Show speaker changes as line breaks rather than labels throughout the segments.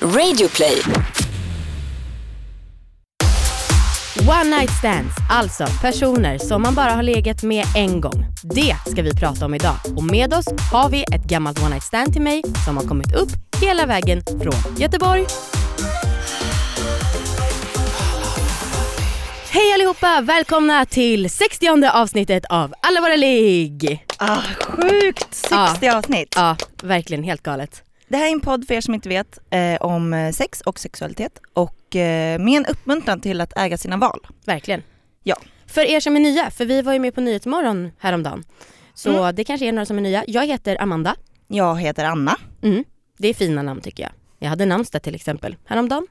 Radioplay.
One night stands, alltså personer som man bara har legat med en gång. Det ska vi prata om idag. Och med oss har vi ett gammalt one night stand till mig som har kommit upp hela vägen från Göteborg. Hej allihopa! Välkomna till 60 avsnittet av Alla våra ligg!
Ah, sjukt! 60 avsnitt.
Ja, verkligen helt galet.
Det här är en podd för er som inte vet eh, om sex och sexualitet och eh, med en uppmuntran till att äga sina val.
Verkligen.
Ja.
För er som är nya, för vi var ju med på Nyhetsmorgon häromdagen. Så det kanske är några som är nya. Jag heter Amanda.
Jag heter Anna.
Mm. Det är fina namn tycker jag. Jag hade namnsdag till exempel häromdagen.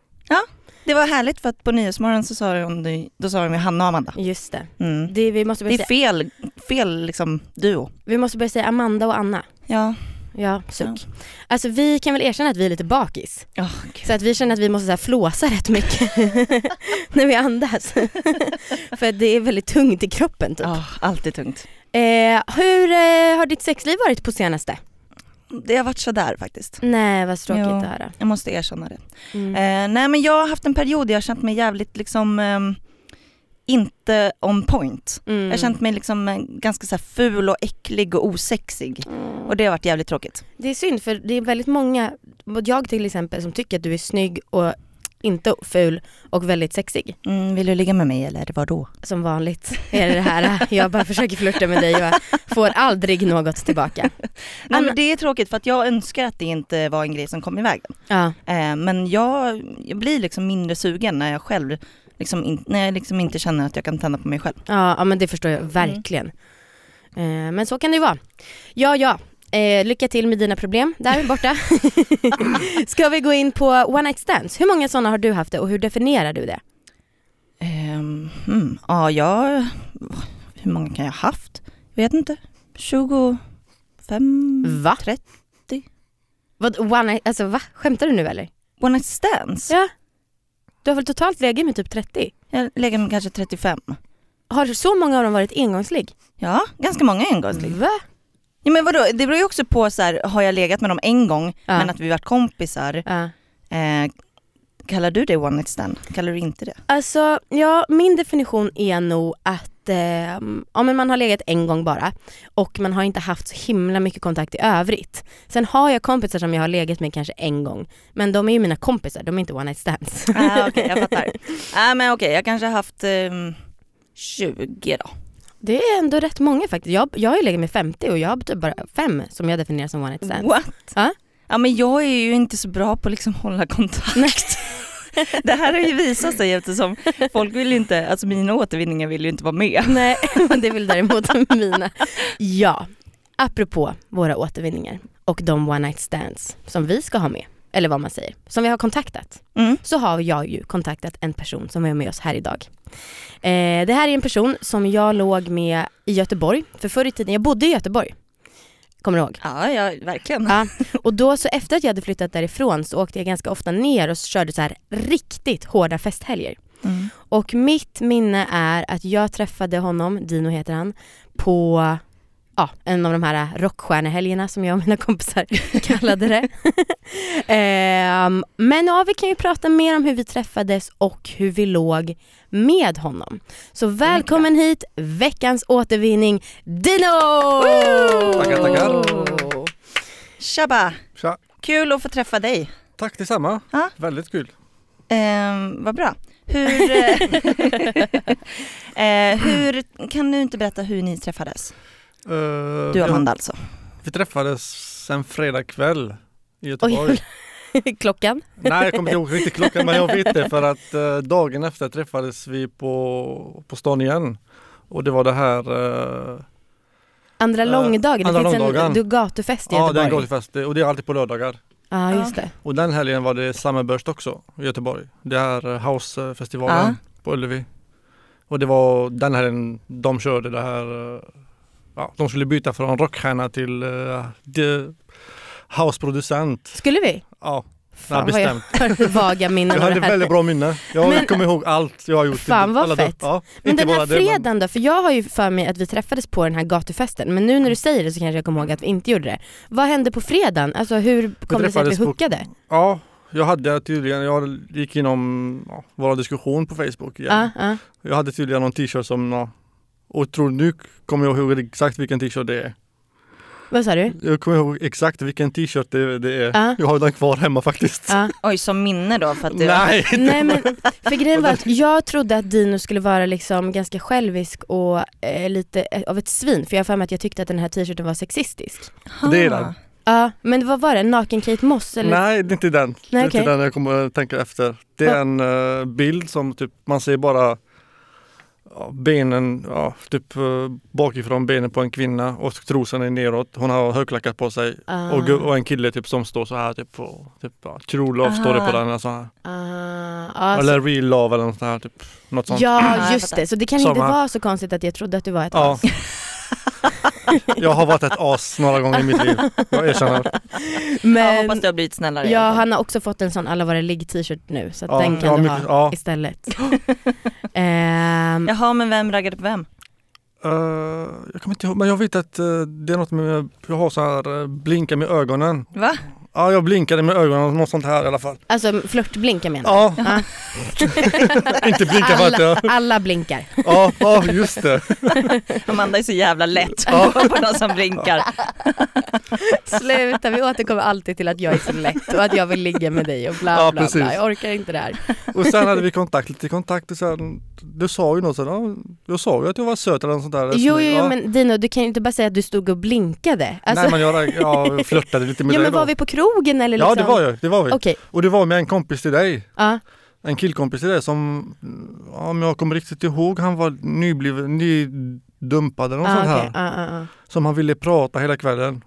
Det var härligt för att på Nyhetsmorgon så sa de, då sa de ju Hanna och Amanda.
Just det.
Mm.
det vi, måste
Det
börja
är
säga,
fel, fel liksom duo.
vi måste börja säga Amanda och Anna.
Ja.
Ja, suck. Alltså vi kan väl erkänna att vi är lite bakis.
Oh,
Så att vi känner att vi måste så här flåsa rätt mycket när vi andas. För att det är väldigt tungt i kroppen typ.
allt är tungt.
Eh, hur eh, har ditt sexliv varit på senaste?
Det har varit sådär faktiskt.
Nej vad tråkigt
Jo.
att höra.
Jag måste erkänna det.
Mm.
Eh, nej men jag har haft en period där jag har känt mig jävligt liksom ehm, inte on point.
Mm.
Jag har känt mig liksom eh, ganska så här ful och äcklig och osexig. Och det har varit jävligt tråkigt.
Det är synd för det är väldigt många, jag till exempel, som tycker att du är snygg och inte ful och väldigt sexig.
Mm, vill du ligga med mig eller vad då?
Som vanligt är det det här, jag bara försöker flirta med dig och jag får aldrig något tillbaka.
Nej
Anna-
men det är tråkigt för att jag önskar att det inte var en grej som kom i vägen.
Ja,
Eh, men jag, jag blir liksom mindre sugen när jag själv liksom in, när jag liksom inte känner att jag kan tända på mig själv.
ja, ja men det förstår jag verkligen. Eh, men så kan det ju vara. Ja, ja. Eh, lycka till med dina problem där borta. Ska vi gå in på one night stands? Hur många sådana har du haft det och hur definierar du det?
Ehm, mm, ja, jag, hur många kan jag ha haft? Jag vet inte. 25? Mm.
Va?
30.
Vad, one night, alltså va? Skämtar du nu eller?
One night stands?
Ja. Du har väl totalt legat med typ 30?
Jag lägger mig kanske 35.
Har så många av dem varit engångsligg?
Ja, ganska många engångsligg.
Va?
Ja men vadå, det beror ju också på så här, har jag legat med dem en gång
Ja.
men att vi varit kompisar.
Ja.
Eh, kallar du det one night stand? Kallar du inte det?
Alltså, ja, min definition är nog att ehm, ja, men man har legat en gång bara och man har inte haft så himla mycket kontakt i övrigt. Sen har jag kompisar som jag har legat med kanske en gång, men de är ju mina kompisar, de är inte one night stands.
Ah, okej jag fattar. ah, men okej jag kanske har haft ehm, 20 då.
Det är ändå rätt många faktiskt. Jag, jag har ju legat med 50 och jag har typ bara fem som jag definierar som one night stands.
What?
Ja.
Ja men jag är ju inte så bra på att liksom hålla kontakt. Det här har ju visat sig eftersom folk vill ju inte, alltså mina återvinningar vill ju inte vara med.
Nej, men det är väl däremot mina. Ja, apropå våra återvinningar och de one night stands som vi ska ha med, eller vad man säger, som vi har kontaktat.
Mm.
Så har jag ju kontaktat en person som är med oss här idag. Eh, det här är en person som jag låg med i Göteborg, för förr i tiden, jag bodde i Göteborg. Kommer du ihåg?
Ja, ja verkligen.
Ja, och då så efter att jag hade flyttat därifrån så åkte jag ganska ofta ner och körde så här riktigt hårda festhelger.
Mm.
Och mitt minne är att jag träffade honom, Dino heter han, på ja, en av de här rockstjärnehelgerna som jag och mina kompisar kallade det. Ehm, men ja, vi kan ju prata mer om hur vi träffades och hur vi låg med honom. Så välkommen hit, veckans återvinning, Dino!
Tackar, tackar.
Shabba,
Tja.
kul att få träffa dig.
Tack detsamma.
Ja.
Väldigt kul.
Ehm, vad bra. Hur, eh, eh, hur, kan du inte berätta hur ni träffades?
Eh,
Du och Amanda alltså.
Ja, vi träffades en fredagkväll i Göteborg.
Klockan?
Nej, jag kommer inte ihåg riktigt klockan, men jag vet det för att eh, dagen efter träffades vi på, på stan igen. Och det var det här, eh,
Andra
Eh,
långdagen, det
andra
finns en
långdagen.
du- gatufest i
ja, det är en
Göteborg.
gatufest och det är alltid på lördagar.
Ja, just det.
Och den helgen var det Summerburst också i Göteborg. Det här eh, housefestivalen
Ja.
på Ullevi. Och det var den helgen de körde det här, eh, ja, de skulle byta från rockstjärna till eh, de- houseproducent.
Skulle vi?
Ja,
Fan
ja
vad jag
bestämt.
har vaga minnen
Jag
av
hade
det här.
väldigt bra minne. Jag
Men-
kommer ihåg allt jag har gjort.
Fan, vad
Alla dagar.
fett.
Ja,
Men
inte
den här
bara det, men-
fredagen då? För jag har ju för mig att vi träffades på den här gatufesten men nu när du säger det så kanske jag kommer ihåg att vi inte gjorde det. Vad hände på fredagen? Alltså hur kom det sig att vi
träffades på-
hookade?
Ja, jag hade tydligen, jag gick inom ja, vår diskussion på Facebook igen.
Ja, ja.
Jag hade tydligen någon t-shirt som, ja, och tror nu kommer jag ihåg exakt vilken t-shirt det är.
Vad sa du?
Jag kommer ihåg exakt vilken t-shirt det, det är.
Ja.
Jag har den kvar hemma faktiskt.
Ja.
Oj, som minne då för att du...
Nej!
Nej men, för grejen var att jag trodde att Dino skulle vara liksom ganska självisk och eh, lite eh, av ett svin för jag har för mig att jag tyckte att den här t-shirten var sexistisk.
Det är den.
Ja, men vad var det? Naken Kate Moss eller?
Nej, det är inte den. det är
okej.
inte den jag kommer att tänka efter. Det
Va?
är en eh, bild som typ, man ser bara ja, benen, ja, typ eh, bakifrån benen på en kvinna och trosan är neråt. Hon har högklackat på sig.
Ah,
Och, gu- och en kille typ som står så här typ på, typ ja, true love står det
Ah.
på den. Alltså, här.
ah, alltså,
eller real love eller något sånt här typ. Något sånt.
Ja
jag
just
fattar.
det, så det kan
Som
inte
han-
vara så konstigt att jag trodde att du var ett
Ja.
as.
Jag har varit ett as några gånger i mitt liv. Jag erkänner.
Jag
Men
hoppas du har blivit snällare.
ja, han har också fått en sån alla våra ligg t-shirt nu så att
Ja,
den kan
ja,
du
mycket-
ha
ja.
istället. Ehm,
Jaha, men vem raggade på vem?
Eh, jag kommer inte ihåg, men jag vet att eh, det är något med, jag har så här eh, blinka med ögonen.
Va?
Ja, jag blinkade med ögonen, något sånt här i alla fall.
Alltså flörtblinka menar du?
Ja,
Ja.
inte blinka för att jag...
Alla blinkar.
Ja, ja just det.
Amanda är så jävla lätt. Hon går på någon som blinkar.
Sluta, vi återkommer alltid till att jag är så lätt och att jag vill ligga med dig och bla
Ja,
bla
precis.
bla. Jag orkar inte det här.
Och sen hade vi kontakt, lite kontakt och sen, du sa ju något sånt, ja, jag sa ju att jag var söt eller något sånt där.
Jo, jo,
ja.
jo men Dino du kan ju inte bara säga att du stod och blinkade. Alltså,
Nej men jag, jag flörtade lite med
ja
dig
men
då.
var vi på krogen eller
Ja
liksom?
det var jag, det var vi.
Okej,
Och det var med en kompis till dig,
ja.
en killkompis till dig som, ja, om jag kommer riktigt ihåg, han var nybliven, nydumpad eller något
Ah,
sånt
okej.
här.
Ah, ah, ah.
Som han ville prata hela kvällen.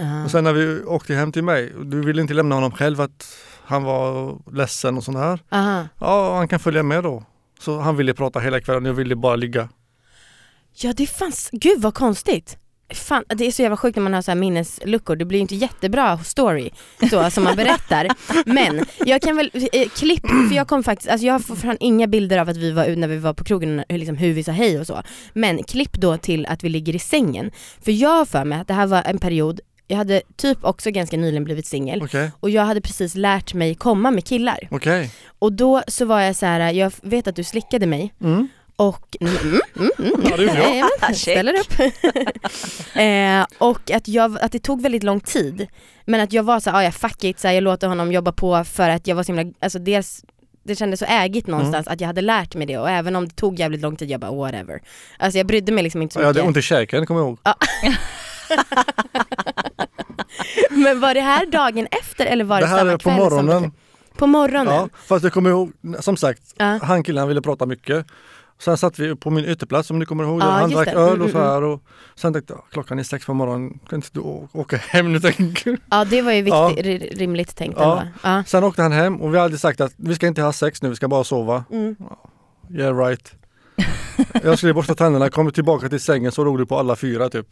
Ah.
Och sen när vi åkte hem till mig, du ville inte lämna honom själv att han var ledsen och sånt här.
Ah, Aha.
Ja, han kan följa med då. Så han ville prata hela kvällen, jag ville bara ligga.
Ja det fanns, gud vad konstigt. Fan, det är så jävla sjukt när man har så här minnesluckor, det blir ju inte jättebra story så som man berättar. Men jag kan väl, eh, klipp, för jag kom faktiskt, alltså jag får fram inga bilder av att vi var ute när vi var på krogen, hur- liksom hur vi sa hej och så. Men klipp då till att vi ligger i sängen. För jag har för mig att det här var en period, jag hade typ också ganska nyligen blivit singel
Okej,
och jag hade precis lärt mig komma med killar.
okej.
Och då så var jag så här, jag vet att du slickade mig
Mm.
och, mm, mm, mm, mm.
Ja, det gjorde jag.
Nej, men,
Check.
ställer upp. eh, och att, jag, att det tog väldigt lång tid. Men att jag var såhär, ah, ja fuck it, såhär, jag låter honom jobba på för att jag var så himla, alltså dels det kändes så ägigt
Mm.
någonstans att jag hade lärt mig det och även om det tog jävligt lång tid, jag bara whatever. Alltså jag brydde mig liksom inte så
Jag hade
mycket.
ont i käken kommer jag ihåg.
Men var det här dagen efter eller var det,
Det här
samma
är på
kväll som-
morgonen.
På morgonen?
Ja, fast jag kommer ihåg, som sagt,
Ja.
han killen han ville prata mycket. Sen satt vi på min ytterplats om ni kommer ihåg,
Ja,
det. han
just
drack
det.
öl
Mm,
och så
mm,
här. Och sen tänkte jag, klockan är sex på morgonen, kan inte du å- åka hem nu? tänker jag.
Ja, det var ju
Ja.
viktigt, ri- rimligt tänkt
Ja.
ändå. Ja.
Sen åkte han hem och vi hade sagt att vi ska inte ha sex nu, vi ska bara sova.
Mm.
Yeah right. Jag skulle borsta tänderna, kommer tillbaka till sängen så låg du på alla fyra typ.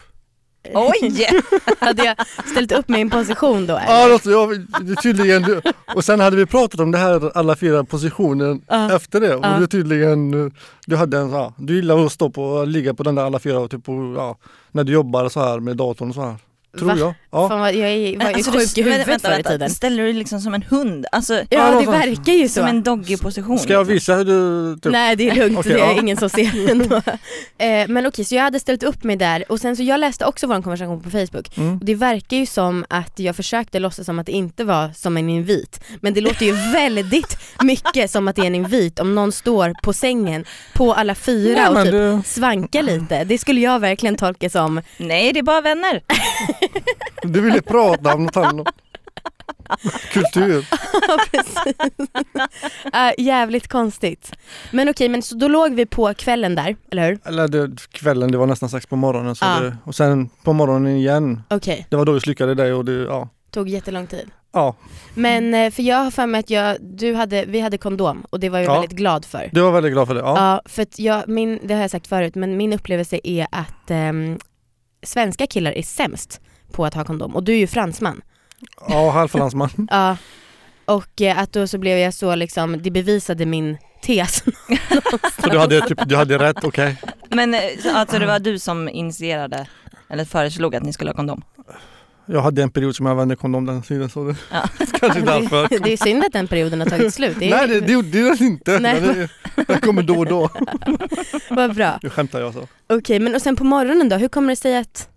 Oj!
Hade jag ställt upp mig i en position då? eller?
Ja, alltså, jag, det är tydligen, du- och sen hade vi pratat om det här alla fyra positionen
Ja.
efter det. Och
Ja.
det är tydligen, eh, du hade en, ja, du gillar att stå på, ligga på den där alla fyra, och typ, på, ja, när du jobbar så här med datorn och så här. Tror
Va?
jag. Ja.
Fan vad jag är, var ju
Alltså,
sjuk
du-
i huvudet
vänta, vänta,
förr i
vänta.
tiden.
Ställer du dig liksom som en hund? Alltså,
Ja det
alltså.
verkar ju så.
som en doggyposition? liksom.
Ska jag visa hur du, typ,
Nej det är lugnt,
Okej,
det är
ja.
ingen som ser ändå. eh, men okej, så jag hade ställt upp mig där och sen så jag läste också vår konversation på Facebook
Mm.
och det verkar ju som att jag försökte låtsas som att det inte var som en invit. Men det låter ju väldigt mycket som att det är en invit om någon står på sängen på alla fyra
Nej,
och
men
typ
du-
svankar lite. Det skulle jag verkligen tolka som
Nej, det är bara vänner.
du ville prata om något annat. Kultur.
Ja, precis. Eh, jävligt konstigt. Men okej, men så då låg vi på kvällen där, eller hur?
Eller det, kvällen, det var nästan sex på morgonen. Så
Ja.
det, och sen på morgonen igen.
Okej,
Det var då vi slickade dig och du, ja.
tog jättelång tid.
Ja,
Men eh, för jag har för mig att jag, du hade, vi hade kondom och det var jag
Ja.
väldigt glad för.
du var väldigt glad för det.
Ja,
Ja.
för att jag, min, det har jag sagt förut, men min upplevelse är att ehm, svenska killar är sämst på att ha kondom och du är ju fransman.
Ja, halvfinansman.
Ja. Och eh, att då så blev jag så liksom, det bevisade min tes.
Så du hade, typ, du hade rätt, okej.
Men eh, så- alltså det var du som initierade, eller föreslog att ni skulle ha kondom?
Jag hade en period som jag använde kondom den tiden så det
Ja.
kanske är därför.
Det är synd att den perioden har tagit slut. Det är,
Nej det, det gjorde det inte.
Nej.
Men det- Jag kommer då och då.
Vad bra.
Nu skämtar jag så.
Okej, men och sen på morgonen då, hur kommer det sig att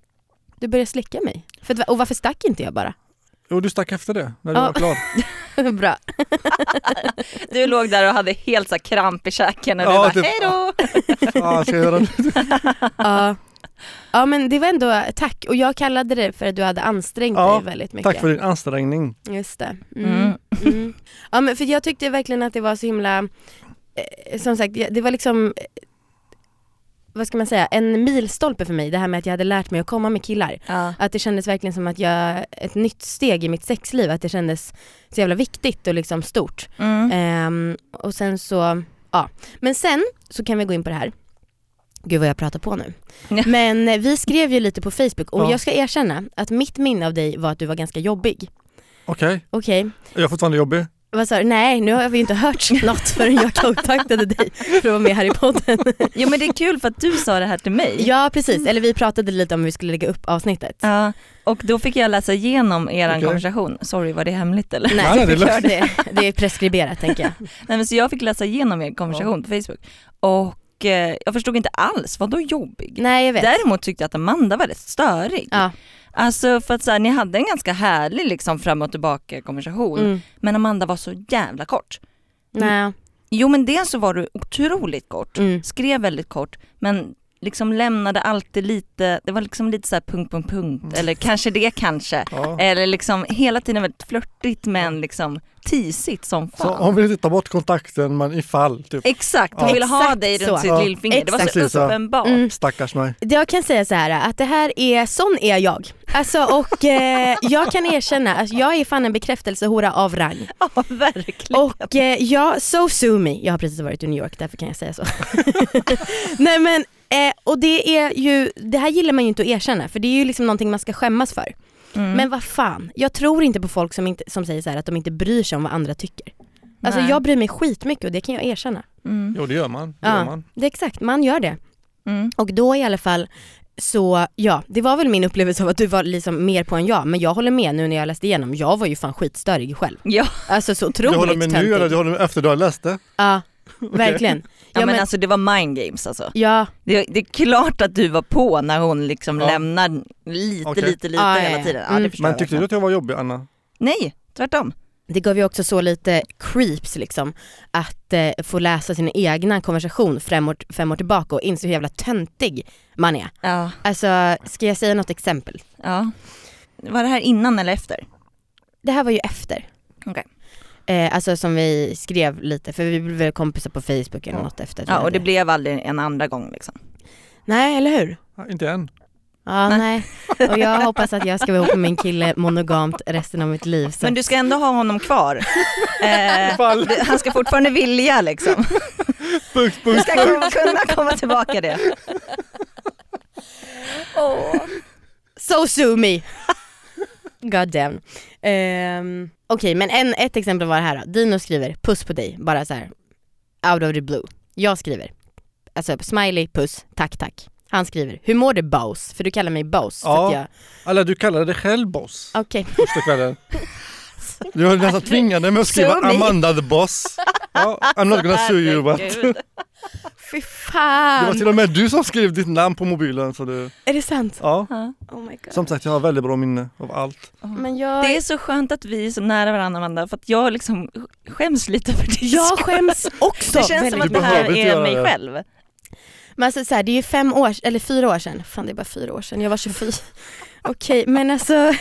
du började slicka mig? För att, och varför stack inte jag bara?
Jo du stack efter det när du
Ja.
var klar.
bra.
Du låg där och hade helt så här kramp i käken och du
Ja,
bara
typ.
hej då!
Ah, ska jag göra det?
Ja. ja, men det var ändå tack. Och jag kallade det för att du hade ansträngt
Ja,
dig väldigt mycket.
Tack för din ansträngning.
Just det. Mm.
Mm.
Mm. Ja, men för jag tyckte verkligen att det var så himla, eh, som sagt, jag- det var liksom, eh, vad ska man säga, en milstolpe för mig det här med att jag hade lärt mig att komma med killar.
Ja.
Att det kändes verkligen som att jag, ett nytt steg i mitt sexliv, att det kändes så jävla viktigt och liksom stort.
Mm.
Ehm, och sen så, ja. Men sen så kan vi gå in på det här. Gud vad jag pratar på nu.
Ja.
Men eh, vi skrev ju lite på Facebook och
Ja.
jag ska erkänna att mitt minne av dig var att du var ganska jobbig.
Okej,
Okej,
är jag fortfarande jobbig?
vad sa du? Nej, nu har vi inte hört något förrän jag kontaktade dig för att vara med här i podden.
Jo men det är kul för att du sa det här till mig.
Ja precis, eller vi pratade lite om hur vi skulle lägga upp avsnittet.
Ja, och då fick jag läsa igenom er
Okej.
konversation. Sorry, var det hemligt eller?
Nej,
Nej, det är lugnt.
det, det är preskriberat tänker jag.
Nej men så jag fick läsa igenom er konversation på Facebook och eh, jag förstod inte alls, vadå jobbig?
Nej jag vet.
Däremot tyckte jag att Amanda var rätt störig.
Ja.
Alltså för att så här, ni hade en ganska härlig liksom fram och tillbaka konversation
Mm.
men Amanda var så jävla kort.
Nej.
Jo men dels så var du otroligt kort,
Mm.
skrev väldigt kort men liksom lämnade alltid lite, det var liksom lite så här punkt, punkt, punkt eller kanske det kanske.
Eh,
Ja.
Eller liksom hela tiden väldigt flörtigt men liksom tisigt som
Så
fan.
hon vill inte ta bort kontakten men ifall typ.
Exakt, hon
Ja.
ville ha
Exakt
dig runt
så.
sitt
Ja.
lillfinger. Det var
Exakt. Precis,
så
ja.
uppenbart.
Mm.
Stackars mig.
Jag kan säga så här att det här är, sån är jag. Alltså och eh, jag kan erkänna att jag är fan en bekräftelsehora av rang.
Ja, verkligen.
Och eh, jag, so sue me. Jag har precis varit i New York därför kan jag säga så. Nej men, eh, och det är ju, det här gillar man ju inte att erkänna för det är ju liksom någonting man ska skämmas för.
Mm.
Men vad fan, jag tror inte på folk som, inte, som säger så här att de inte bryr sig om vad andra tycker. Alltså
Nej.
jag bryr mig skitmycket och det kan jag erkänna.
Mm.
Jo det gör man. Det
Ja.
gör man.
Det är exakt, man gör det.
Mm.
Och då i alla fall så, ja, det var väl min upplevelse av att du var liksom mer på än jag, men jag håller med nu när jag läste igenom, jag var ju fan skitstörig själv.
Ja,
Alltså så
Du
otroligt
håller med nu
töntig.
eller du håller med efter du har läst det?
Ja, verkligen.
ja
Ja,
men
men-
alltså det var mind games alltså.
Ja,
Det, det är klart att du var på när hon liksom
Ja.
lämnar lite,
Okej.
lite, lite
Ja, ja,
hela
ja.
tiden. Ja, det
Mm.
förstår
Men
jag
tyckte du
verkligen.
att jag var jobbig Anna?
Nej, tvärtom.
det gav ju också så lite creeps liksom, att eh, få läsa sin egna konversation fem år, fem år tillbaka och inse hur jävla töntig man är.
Ja,
Alltså, ska jag säga något exempel?
ja. Var det här innan eller efter?
Det här var ju efter.
Okej.
Eh, alltså som vi skrev lite, för vi blev väl kompisar på Facebook eller
Ja.
något efter. tror
Ja,
jag
och det blev aldrig en andra gång liksom.
Nej, eller hur?
Nej, inte än.
Ja, nej. Och jag hoppas att jag ska vara ihop med min kille monogamt resten av mitt liv. Så.
Men du ska ändå ha honom kvar. eh,
Ifall.
du- han ska fortfarande vilja liksom.
Punkt,
Du
punkt.
ska kunna- kunna komma tillbaka det. Åh.
So sue me! God damn. Ehm, Okej, men en, ett exempel var det här då. Dino skriver puss på dig, bara så här out of the blue. Jag skriver, alltså smiley, puss, tack tack. Han skriver, hur mår du Bows? För du kallar mig Bows.
Ja.
Ja.
Eller du kallade dig själv boss
Okej,
första kvällen. Du har nästan
Alltså,
tvingat mig att skriva
Sue me.
Amanda the boss. Ja, I'm not gonna sue you but.
Herregud.
fy
Det var
fan.
till och med du som skrev ditt namn på mobilen så du,
Är det sant?
ja.
Ja.
Oh my god.
Som sagt jag har väldigt bra minne av allt.
Men jag...
Det är så skönt att vi är så nära varandra Amanda för att jag liksom skäms lite för det.
Jag skäms också
det känns som
väldigt
att det
Du
här
behöver inte
är
göra
mig
det.
själv.
Men alltså så här, det är ju fem år, eller fyra år sedan. Fan det är bara fyra år sedan, jag var 24. okej men alltså.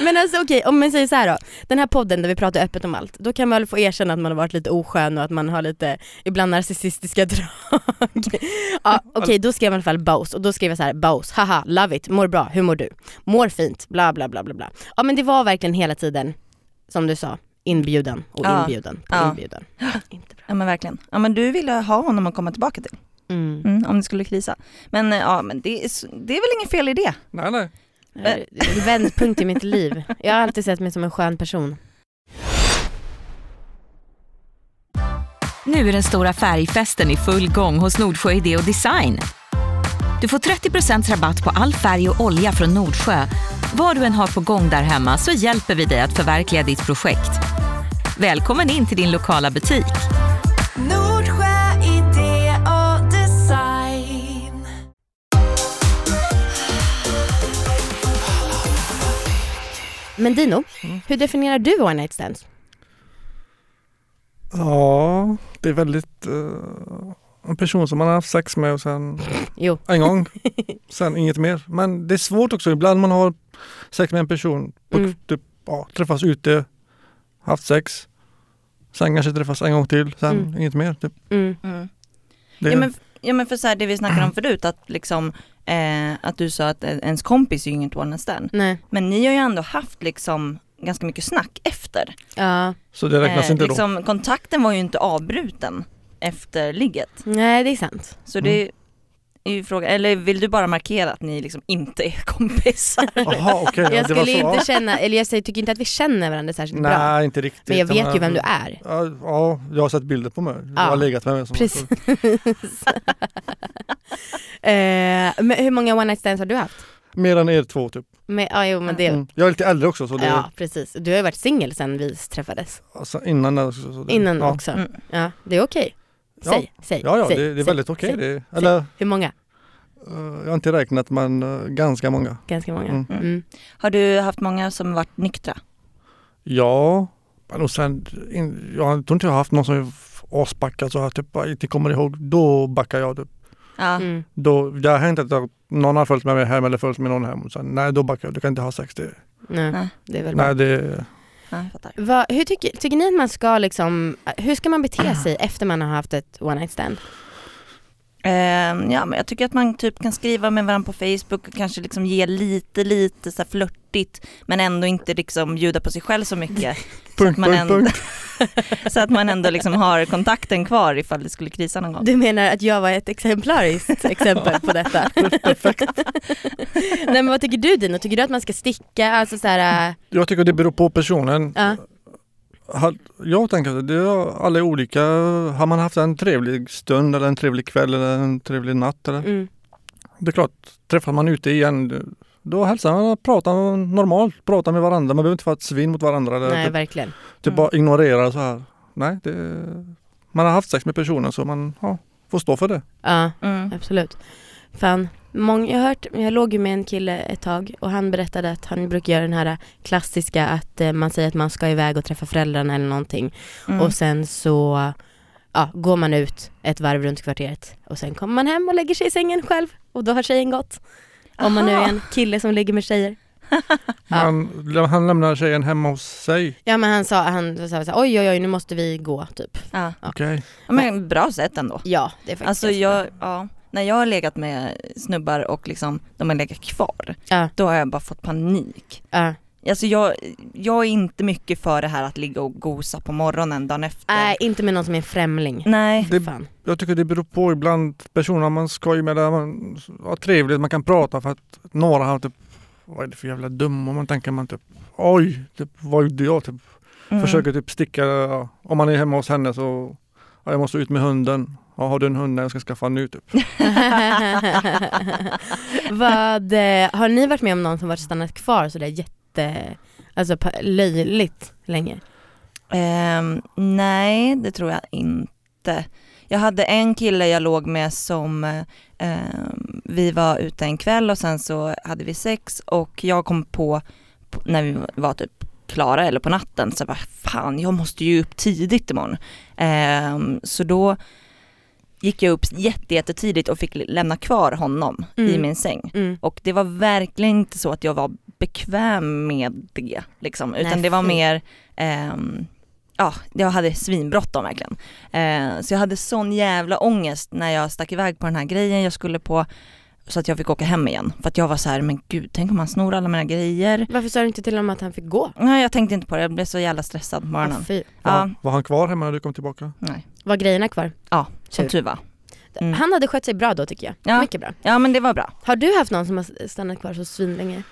men alltså okej, om man säger så här då. Den här podden där vi pratar öppet om allt. Då kan man väl få erkänna att man har varit lite oskön och att man har lite, ibland narcissistiska drag. ja, okej då skrev jag i alla fall Baus och då skrev jag så här Baus, haha, love it, mår bra, hur mår du? Mår fint, bla bla bla bla bla. Ja men det var verkligen hela tiden, som du sa, inbjudan och
Ja.
inbjudan på
Ja.
inbjudan. Inte bra.
Ja men verkligen. Ja men du ville ha honom att komma tillbaka till
Mm.
mm, om det skulle krisa. Men eh, ja men det är, s- det är väl inget fel i det.
Nej nej.
Eh, En vändpunkt i mitt liv. Jag har alltid sett mig som en skön person.
Nu är den stora färgfesten i full gång hos Nordsjö Idé och Design. Du får 30 rabatt på all färg och olja från Nordsjö. Vad du än har på gång där hemma så hjälper vi dig att förverkliga ditt projekt. Välkommen in till din lokala butik.
Nordsjö idé och design.
Men Dino, hur definierar du one night stands?
Ja, det är väldigt... eh, en person som man har haft sex med och sen
Jo,
en gång, sen inget mer. Men det är svårt också. Ibland man har sex med en person, på,
Mm.
typ, ja, träffas ute, haft sex. Sen kanske träffas en gång till, sen
Mm.
inget mer. Typ.
mm,
Mm.
Det,
Ja, men, ja men för så här, det vi snackade om förut, att, liksom, eh, att du sa att eh, ens kompis är ju inget one night stand.
nej,
Men ni har ju ändå haft liksom ganska mycket snack efter.
ja,
Så det räknas
Eh,
inte då.
liksom, Kontakten var ju inte avbruten efter ligget.
nej det är sant.
Så
Mm.
det är ju frågan, eller vill du bara markera att ni liksom inte är kompisar?
Jaha, okej. ja,
Jag
det var
skulle
så. ja.
inte känna, eller jag säger- tycker inte att vi känner varandra särskilt bra.
Nej, inte riktigt.
Men jag vet ju
menar,
vem du är.
Ja, ja, jag har sett bilder på mig. Jag
Ja,
har legat med mig. Som
Precis. eh, men hur många one night stands har du haft?
Mer än er två typ.
Med, ja, jo, men det,
Mm. Jag är lite äldre också. Så det,
ja precis. Du har ju varit singel sen vi träffades.
alltså, innan där också, så det,
Innan
ja.
också.
Mm.
Ja, det är okej.
Ja.
Säg, säg,
Ja, ja
säg,
det, det
säg,
är väldigt okej.
säg.
det. Eller,
Hur många?
eh, jag har inte räknat men eh, ganska många.
Ganska många.
Mm.
Mm.
Har du haft många som varit nyktra?
Ja, men och sen, in, jag tror inte jag har haft någon som är aspackad så jag typ bara inte kommer ihåg. Då backar jag. Typ.
Ja.
Mm.
Då, det har hänt att jag, någon har följt med mig hem eller följt med någon hem. Och sen, nej, då backar jag. Du kan inte ha sex. Det,
Nej,
Nej.
det är väl bra.
nej, det,
ja, jag fattar.
Vad- hur tycker, tycker ni att man ska liksom, hur ska man bete
Ah.
sig efter man har haft ett one night stand?
Eh, ja men jag tycker att man typ kan skriva med varandra på Facebook och kanske liksom ge lite, lite så här flörtigt men ändå inte liksom bjuda på sig själv så mycket.
punkt,
man
punkt,
ändå-
punkt.
så att man ändå liksom har kontakten kvar ifall det skulle krisa någon gång.
Du menar att jag var ett exemplariskt exempel på detta? Perfekt. Nej men vad tycker du Dino? Tycker du att man ska sticka? Alltså så här, äh,
Jag tycker det beror på personen.
ja.
Har- Jag tänker att det är alla olika. Har man haft en trevlig stund eller en trevlig kväll eller en trevlig natt? Eller?
mm,
Det är klart, träffar man ute igen då hälsar man, pratar normalt, pratar med varandra. Man behöver inte vara ett svin mot varandra eller
nej
typ,
verkligen.
typ bara ignorera så här. Nej, det, man har haft sex med personen så man ja, får stå för det.
Ja,
Mm.
absolut. Fan, mång, jag, har hört, jag låg ju med en kille ett tag och han berättade att han brukar göra den här klassiska att eh, man säger att man ska iväg och träffa föräldrarna eller någonting
Mm.
och sen så ja, går man ut ett varv runt kvarteret och sen kommer man hem och lägger sig i sängen själv och då har tjejen gått. Om man nu är en kille som ligger med tjejer. Ja.
Han, han lämnar tjejen hemma hos sig.
Ja men han sa, han sa så här, oj oj oj nu måste vi gå typ.
Ja.
Ja.
Okej.
Ja, men bra sätt ändå.
Ja det är faktiskt
Alltså
ganska
jag, ja, när jag har legat med snubbar och liksom de har legat kvar,
Ja.
då har jag bara fått panik.
bra. Ja.
Alltså jag, jag är inte mycket för det här att ligga och gosa på morgonen dagen efter.
Nej inte med någon som är en främling.
Nej.
Det-
Fan.
Jag tycker det beror på ibland personerna man skojar med, där man har trevligt, man kan prata för att några har typ vad är det för jävla dum och man tänker man typ oj, typ, vad gjorde jag? Typ,
Mm.
Försöker typ sticka, ja. om man är hemma hos henne så ja, jag måste ut med hunden. Ja, har du en hund? Nej, jag ska skaffa en nu typ.
Vad, eh, har ni varit med om någon som varit stannat kvar sådär jätte, alltså pa- löjligt länge?
Ehm, nej, det tror jag inte. Jag hade en kille jag låg med som ehm, vi var ute en kväll och sen så hade vi sex och jag kom på på- när vi var typ klara eller på natten så jag bara fan jag måste ju upp tidigt imorgon. Ehm, så då gick jag upp jätte, jättetidigt och fick lämna kvar honom i
Mm.
min säng.
Mm.
Och det var verkligen inte så att jag var bekväm med det. Liksom. Utan
Nej,
det var
fy.
mer, ehm, ja, jag hade svinbråttom verkligen. Eh, så jag hade sån jävla ångest när jag stack iväg på den här grejen jag skulle på. Så att jag fick åka hem igen. För att jag var så här, men gud, tänk om han snor alla mina grejer.
Varför sa du inte till honom att han fick gå?
Nej, jag tänkte inte på det. Jag blev så jävla stressad på
Ah,
morgonen.
fy.
Ja,
Var han kvar hemma när du kom tillbaka?
nej,
Var grejerna kvar?
som
Tur.
tur var. Mm.
Han hade skött sig bra då tycker jag.
Ja.
Mycket bra.
Ja, men det var bra.
Har du haft någon som har stannat kvar så svinlänge?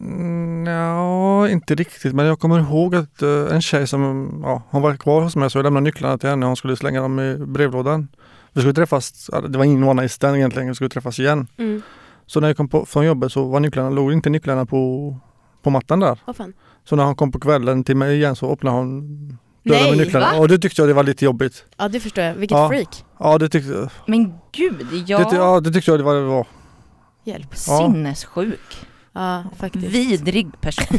Mm, ja, inte riktigt. Men jag kommer ihåg att eh, en tjej som ja, hon var kvar hos mig så jag lämnade nycklarna till henne och hon skulle slänga dem i brevlådan. Vi skulle träffas, det var ingen one night stand egentligen, vi skulle träffas igen.
Mm.
Så när jag kom på, från jobbet så var nycklarna, låg inte nycklarna på, på mattan där.
Åh fan.
Så när han kom på kvällen till mig igen så öppnade hon dörren
Nej,
med nycklarna
va?
och det tyckte jag det var lite jobbigt.
Ja det förstår jag, vilket
Ja.
freak.
Ja det tyckte,
Men gud,
ja.
jag...
Det, ja, det tyckte jag det var. Det var.
Hjälp.
Ja.
Sinnessjuk.
Ja faktiskt.
Vidrig person.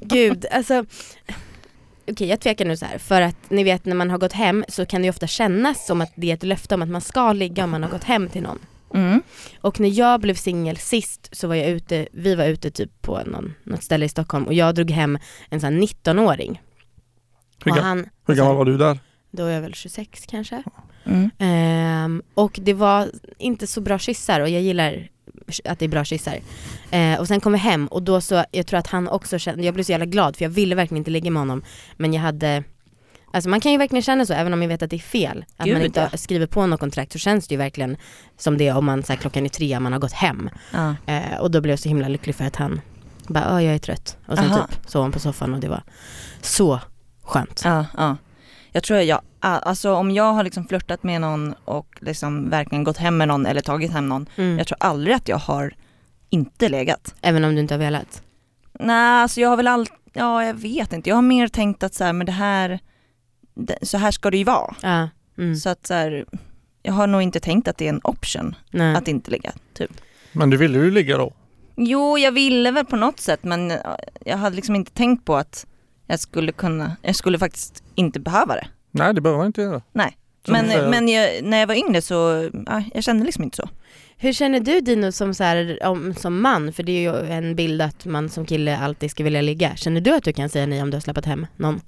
Gud, alltså. Okej jag tvekar nu så här för att ni vet när man har gått hem så kan det ju ofta kännas som att det är ett löfte om att man ska ligga om man har gått hem till någon.
Mm.
Och när jag blev singel sist så var jag ute, vi var ute typ på någon, något ställe i Stockholm och jag drog hem en sån här 19-åring.
Hur,
Och
ga-
han, alltså,
hur gammal var du där?
då var jag väl 26 kanske.
Mm.
Ehm, och det var inte så bra kyssar och jag gillar att det är bra kyssar. Eh, och sen kom vi hem och då så, jag tror att han också kände, jag blev så jävla glad för jag ville verkligen inte ligga med honom. Men jag hade, alltså man kan ju verkligen känna så även om jag vet att det är fel. Att
Gud,
man inte skriver på något kontrakt så känns det ju verkligen som det om man så här, klockan är tre och man har gått hem.
Ja.
Eh, och då blev jag så himla lycklig för att han bara, "Ah, jag är trött. Och sen
Aha.
typ sov han på soffan och det var så skönt.
Ja, ja. Jag tror jag, alltså om jag har liksom flörtat med någon och liksom verkligen gått hem med någon eller tagit hem någon.
Mm.
Jag tror aldrig att jag har inte legat.
Även om du inte har velat.
Nej, alltså jag har väl allt, ja jag vet inte. Jag har mer tänkt att så här, men det här, det, så här ska det ju vara.
Ja. Mm.
Så att så här, jag har nog inte tänkt att det är en option
Nej.
att inte ligga. Typ.
Men du ville ju ligga då?
Jo, jag ville väl på något sätt men eh, jag hade liksom inte tänkt på att jag skulle kunna, jag skulle faktiskt inte behöva det.
Nej det behöver man inte göra.
Nej.
Som
Men,
du säger.
men jag, när jag var yngre så, ja, jag kände liksom inte så.
Hur känner du Dino som, så här, om, som man? För det är ju en bild att man som kille alltid ska vilja ligga. Känner du att du kan säga nej om du har släppt hem någon?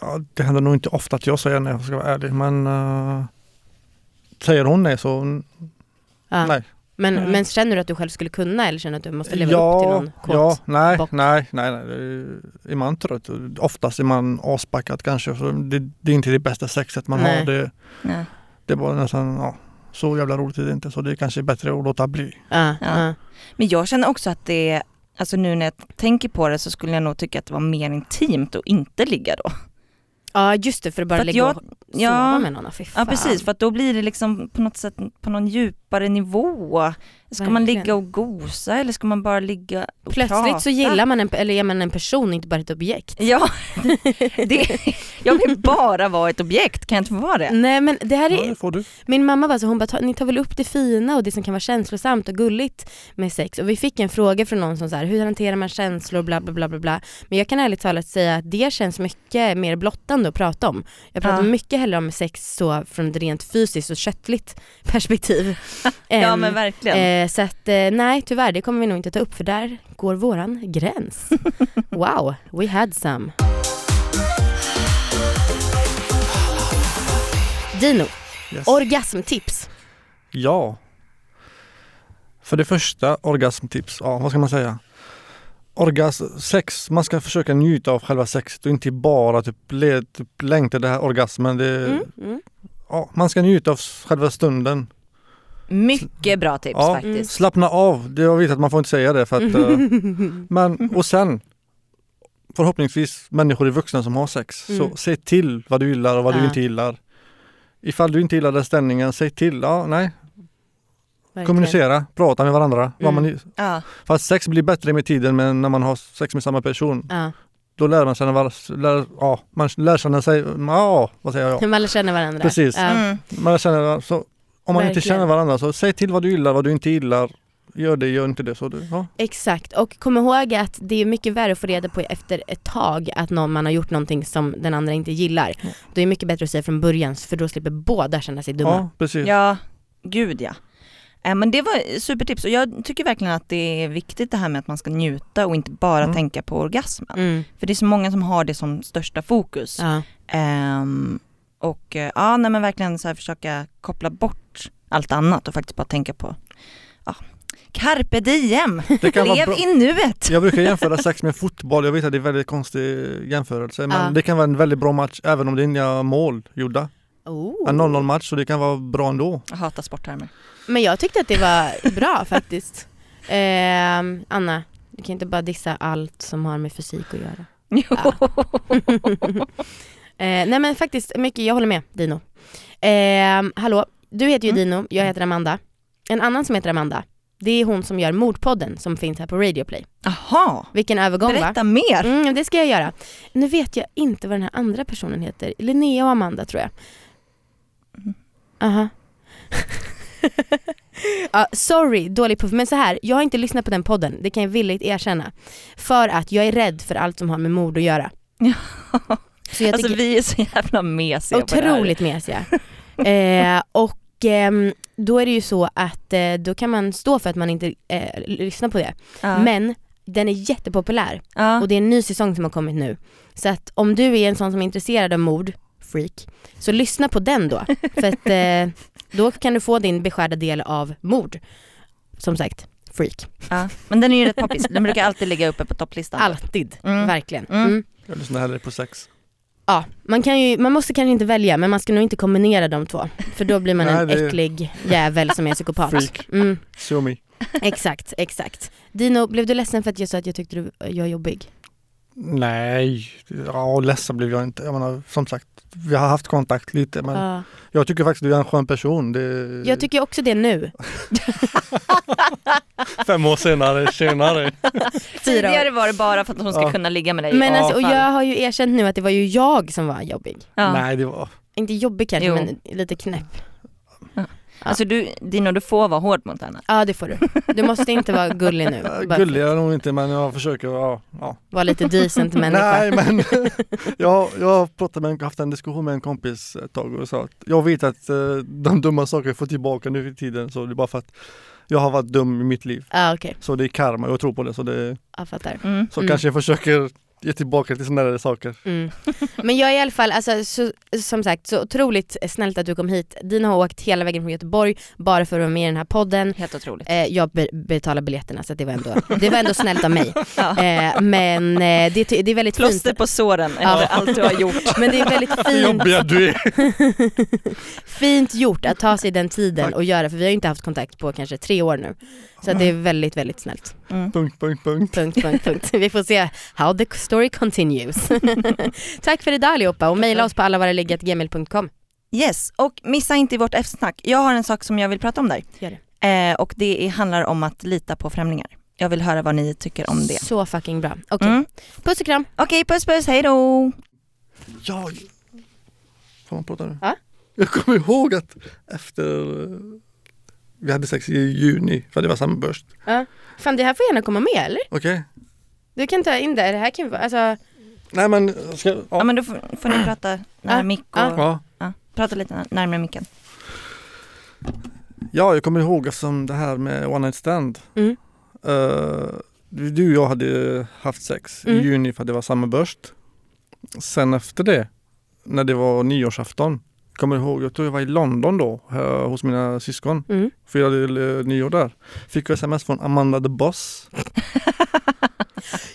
Ja, det händer nog inte ofta att jag säger nej om jag ska vara ärlig men eh, säger hon nej så n-
Ja.
nej.
Men,
Mm.
men känner du att du själv skulle kunna eller känner du att du måste leva upp till någon kåt?
ja, nej,
bock.
nej, nej, nej. det är- Är man trött, oftast är man aspackad kanske. Så det, det är inte det bästa sexet man
Nej.
har. Det,
Ja.
det var nästan, ja, så jävla roligt är det inte. Så det är kanske är bättre att låta bli.
Ja,
Ja.
ja.
Men jag känner också att det, alltså nu när jag tänker på det så skulle jag nog tycka att det var mer intimt att inte ligga då.
ja just det för att bara
För att
ligga
jag-
och sova
ja.
med någon. Fy
Ja
fan.
precis, för att då blir det liksom på något sätt på någon djupare nivå. Ska man
Verkligen.
ligga och gosa eller ska man bara ligga och prata?
Plötsligt så gillar man en, eller är man en person, inte bara ett objekt.
Ja, det, jag vill bara vara ett objekt, kan jag inte få vara det?
Nej men det här
Ja,
är,
det får du.
Min mamma var så, hon bara, "Ta- ni tar väl upp det fina och det som kan vara känslosamt och gulligt med sex. Och vi fick en fråga från någon som så här, hur hanterar man känslor bla bla bla bla bla. Men jag kan ärligt talat säga att det känns mycket mer blottande att prata om. Jag pratar
Ja.
mycket hellre om sex så från ett rent fysiskt och köttligt perspektiv.
Ja
Ehm,
men verkligen.
eh, så att eh, nej tyvärr, det kommer vi nog inte ta upp för där går våran gräns. wow, we had some. Dino,
Yes.
orgasmtips.
Ja. För det första, orgasmtips. Ja, vad ska man säga? Orgasm, sex, man ska försöka njuta av själva sexet och inte bara typ, le, typ längta det här orgasmen. Det,
Mm, mm.
ja, man ska njuta av själva stunden.
Mycket bra tips
Ja.
faktiskt.
Slappna av, det jag vet att man får inte säga det för att eh, Men och sen förhoppningsvis människor är vuxna som har sex.
Mm.
Så säg till vad du gillar och vad
Ja.
du inte gillar. Ifall du inte gillar den ställningen, säg till. Ja, nej.
Verkligen.
Kommunicera, prata med varandra. Vad
Mm.
man,
Ja.
fast sex blir bättre med tiden men när man har sex med samma person
Ja,
då lär man känna var, lär, ja, man lär känna sig, ja vad säger jag?
man lär känna varandra.
Precis.
Ja.
Mm.
Man lär känna, så, om man inte
Verkligen.
känner varandra så säg till vad du gillar, vad du inte gillar. Gör det, gör inte det. Så du, ja.
Exakt, och kom ihåg att det är mycket värre att få reda på efter ett tag att någon, man har gjort någonting som den andra inte gillar.
Ja.
Då är det mycket bättre att säga från början för då slipper båda känna sig dumma.
ja, precis.
Ja, gud ja. Eh, Men det var supertips och jag tycker verkligen att det är viktigt det här med att man ska njuta och inte bara
Mm.
tänka på orgasmen.
Mm.
För det är så många som har det som största fokus.
Ja.
Ehm, och eh, ja, nej, men verkligen så här försöka koppla bort allt annat och faktiskt bara tänka på ja, carpe diem,
Det kan vara
lev
bra.
i nuet.
Jag brukar jämföra sex med fotboll, jag vet att det är väldigt konstig jämförelse men
Ja.
det kan vara en väldigt bra match även om det är inga mål gjorda. En
Oh.
0-0 match så det kan vara bra ändå.
Jag hatar sporttermer.
Men jag tyckte att det var bra faktiskt. Ehm, Anna, du kan inte bara dissa allt som har med fysik att göra.
Jo.
Ja. Eh, nej men faktiskt, Micke, jag håller med Dino. Eh, hallå, du heter ju
Mm.
Dino, jag heter Amanda. En annan som heter Amanda, det är hon som gör Mordpodden som finns här på Radio Play.
Jaha,
Vilken övergång va?
berätta mer.
Mm, det ska jag göra. Nu vet jag inte vad den här andra personen heter. Linnea och Amanda tror jag.
Mm.
Aha. ja, sorry, dålig puff. Men så här, jag har inte lyssnat på den podden, det kan jag villigt erkänna. För att jag är rädd för allt som har med mord att göra.
Ja.
Så jag
Alltså
tycker,
vi är så jävla mesiga på det här.
otroligt mesiga. eh, och ehm, då är det ju så att eh, då kan man stå för att man inte eh, lyssnar på det.
Ja.
Men den är jättepopulär.
ja.
Och det är en ny säsong som har kommit nu. Så att om du är en sån som är intresserad av mord, freak, så lyssna på den då. För att eh, då kan du få din beskärda del av mord. Som sagt, freak.
Ja. Men den är ju rätt poppis, den brukar alltid ligga uppe på topplistan.
Alltid,
Mm.
verkligen.
Mm.
Mm.
Jag lyssnar hellre på sex.
Ja, man, kan ju, man måste kanske inte välja men man ska nog inte kombinera de två. För då blir man
Nej,
en
det-
äcklig jävel som är psykopat.
Freak.
Mm,
Sue me.
exakt, exakt. Dino, blev du ledsen för att jag sa att jag tyckte du var jobbig?
Nej, ja, ledsen blev jag inte. Jag menar, som sagt, vi har haft kontakt lite men
Ja.
jag tycker faktiskt du är en skön person. Det...
Jag tycker också det nu.
Fem år senare, senare.
Fyra år.
Tidigare var det bara för att hon ska
Ja.
kunna ligga med dig.
Men
i
alltså, och
alla fall.
jag har ju erkänt nu att det var ju jag som var jobbig.
Ja.
Nej, det var...
Inte jobbig kanske
Jo.
men lite knäpp.
Alltså du, Dino du får vara hård mot henne.
Ja det får du. Du måste inte vara gullig nu.
Ja,
Bara
Gullig är jag nog inte men jag försöker, ja. ja.
Vara lite decent människa.
Nej men jag, jag pratade med, en- haft en diskussion med en kompis ett tag och sa att jag vet att eh, de dumma saker jag får tillbaka nu i tiden så det är bara för att jag har varit dum i mitt liv.
Ja okej,
Så det är karma, jag tror på det så, det,
jag fattar.
Mm.
så
Mm.
kanske jag försöker ge tillbaka till snällare saker.
Mm. Men jag är i alla fall, alltså, så, som sagt så otroligt snällt att du kom hit. Dina har åkt hela vägen från Göteborg bara för att vara med i den här podden.
Helt otroligt.
Eh, jag be- betalar biljetterna så att det var ändå, det var ändå snällt av mig.
Ja.
Eh, men eh, det, ty- det är väldigt fint.
Plåster på såren efter
Ja.
allt du har gjort.
Men det är väldigt
Hur
fint
jobbiga du är!
Fint gjort att ta sig den tiden
Tack.
och göra för vi har ju inte haft kontakt på kanske tre år nu. Så att det är väldigt, väldigt snällt.
punkt, punkt, punkt.
Punkt, punkt, punkt. Vi får se how the story continues. Tack för idag allihopa och mejla oss på allavaraliggatgmail.com.
Yes, och missa inte vårt eftersnack. Jag har en sak som jag vill prata om där.
Gör
Eh, och det är, handlar om att lita på främlingar. Jag vill höra vad ni tycker om det.
Så fucking bra. Okej,
Mm.
puss och kram.
Okej, puss puss, hej då!
Ja. Får man prata nu?
Ja.
Jag kommer ihåg att efter eh, vi hade sex i juni, för det var samma börs.
Fan det här får gärna komma med eller?
Okej?
Du kan ta in det, det här kan ju vara, alltså,
Nej men, ska, ja.
Ja men då får, får ni prata nära
Ah,
mick och...
ah.
ja.
Ja, prata lite när- närmare micken.
Ja, jag kommer ihåg som det här med one night stand.
Mm.
Eh, du och jag hade haft sex
Mm.
i juni för att det var samma börst. Sen efter det, när det var nyårsafton, kommer jag ihåg, jag tror jag var i London då, eh, hos mina syskon,
mm.
firade uh, nyår där. Fick jag sms från Amanda the Boss.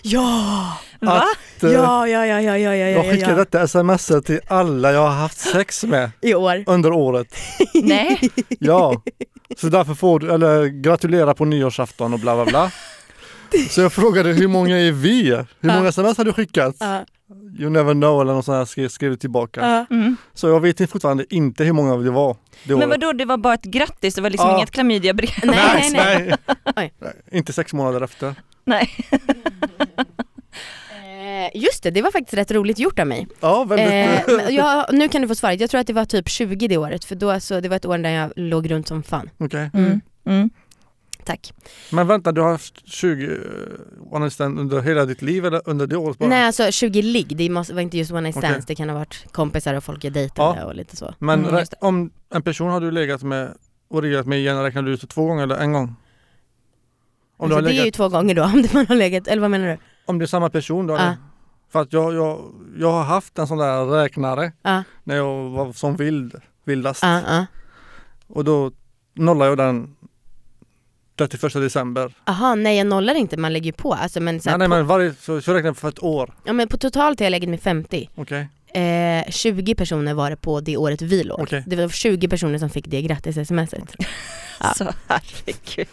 Ja!
Va?
Att, eh,
ja, ja, ja, ja,
jag skickade detta sms till alla jag har haft sex med
I år.
under året.
Nej,
Ja, så därför får du, eller gratulera på nyårsafton och bla bla bla. Så jag frågade hur många är vi? Hur många sms har du skickat?
Ja,
You never know eller något sånt här skrev, skrev tillbaka.
ja.
mm.
Så jag vet fortfarande inte hur många det var. Det
men
året.
vadå det var bara ett grattis, det var liksom
Ah.
inget klamydiabrev.
Nej, nej, nej.
nej.
Oj.
Nej, Inte sex månader efter.
Nej.
Eh, Just det, det var faktiskt rätt roligt gjort av mig.
Ja, väldigt.
Eh, men jag, nu kan du få svaret, jag tror att det var typ 20 det året för då alltså, det var ett år där jag låg runt som fan.
Okej.
Mm. Mm.
Tack.
Men vänta, du har haft 20 eh, one night stand under hela ditt liv eller under det året bara?
Nej alltså 20 ligg, det måste, var inte just one night
Okej.
stands, det kan ha varit kompisar och folk jag dejtade
Ja.
och lite så.
Men
Mm,
rä-
just
om en person har du legat med och legat med igen, räknar du ut två gånger eller en gång? Om, du
alltså,
har
det är
legat,
ju två gånger då om det man har legat, eller vad menar du?
om det är samma person då? eller?
Ja.
För att jag, jag, jag har haft en sån där räknare
Ja,
när jag var som vild, vildast.
ja, ja.
Och då nollade jag den 31 december.
Aha, nej jag nollar inte, man lägger ju på. Alltså, men, så här,
Nej, nej
på,
men varje, så, så jag räknar jag för ett år.
ja, men på totalt har jag legat med 50.
Okej.
Eh, 20 personer var det på det året vi låg.
Okej.
Det var 20 personer som fick det grattis-smset. Ja.
Så herregud.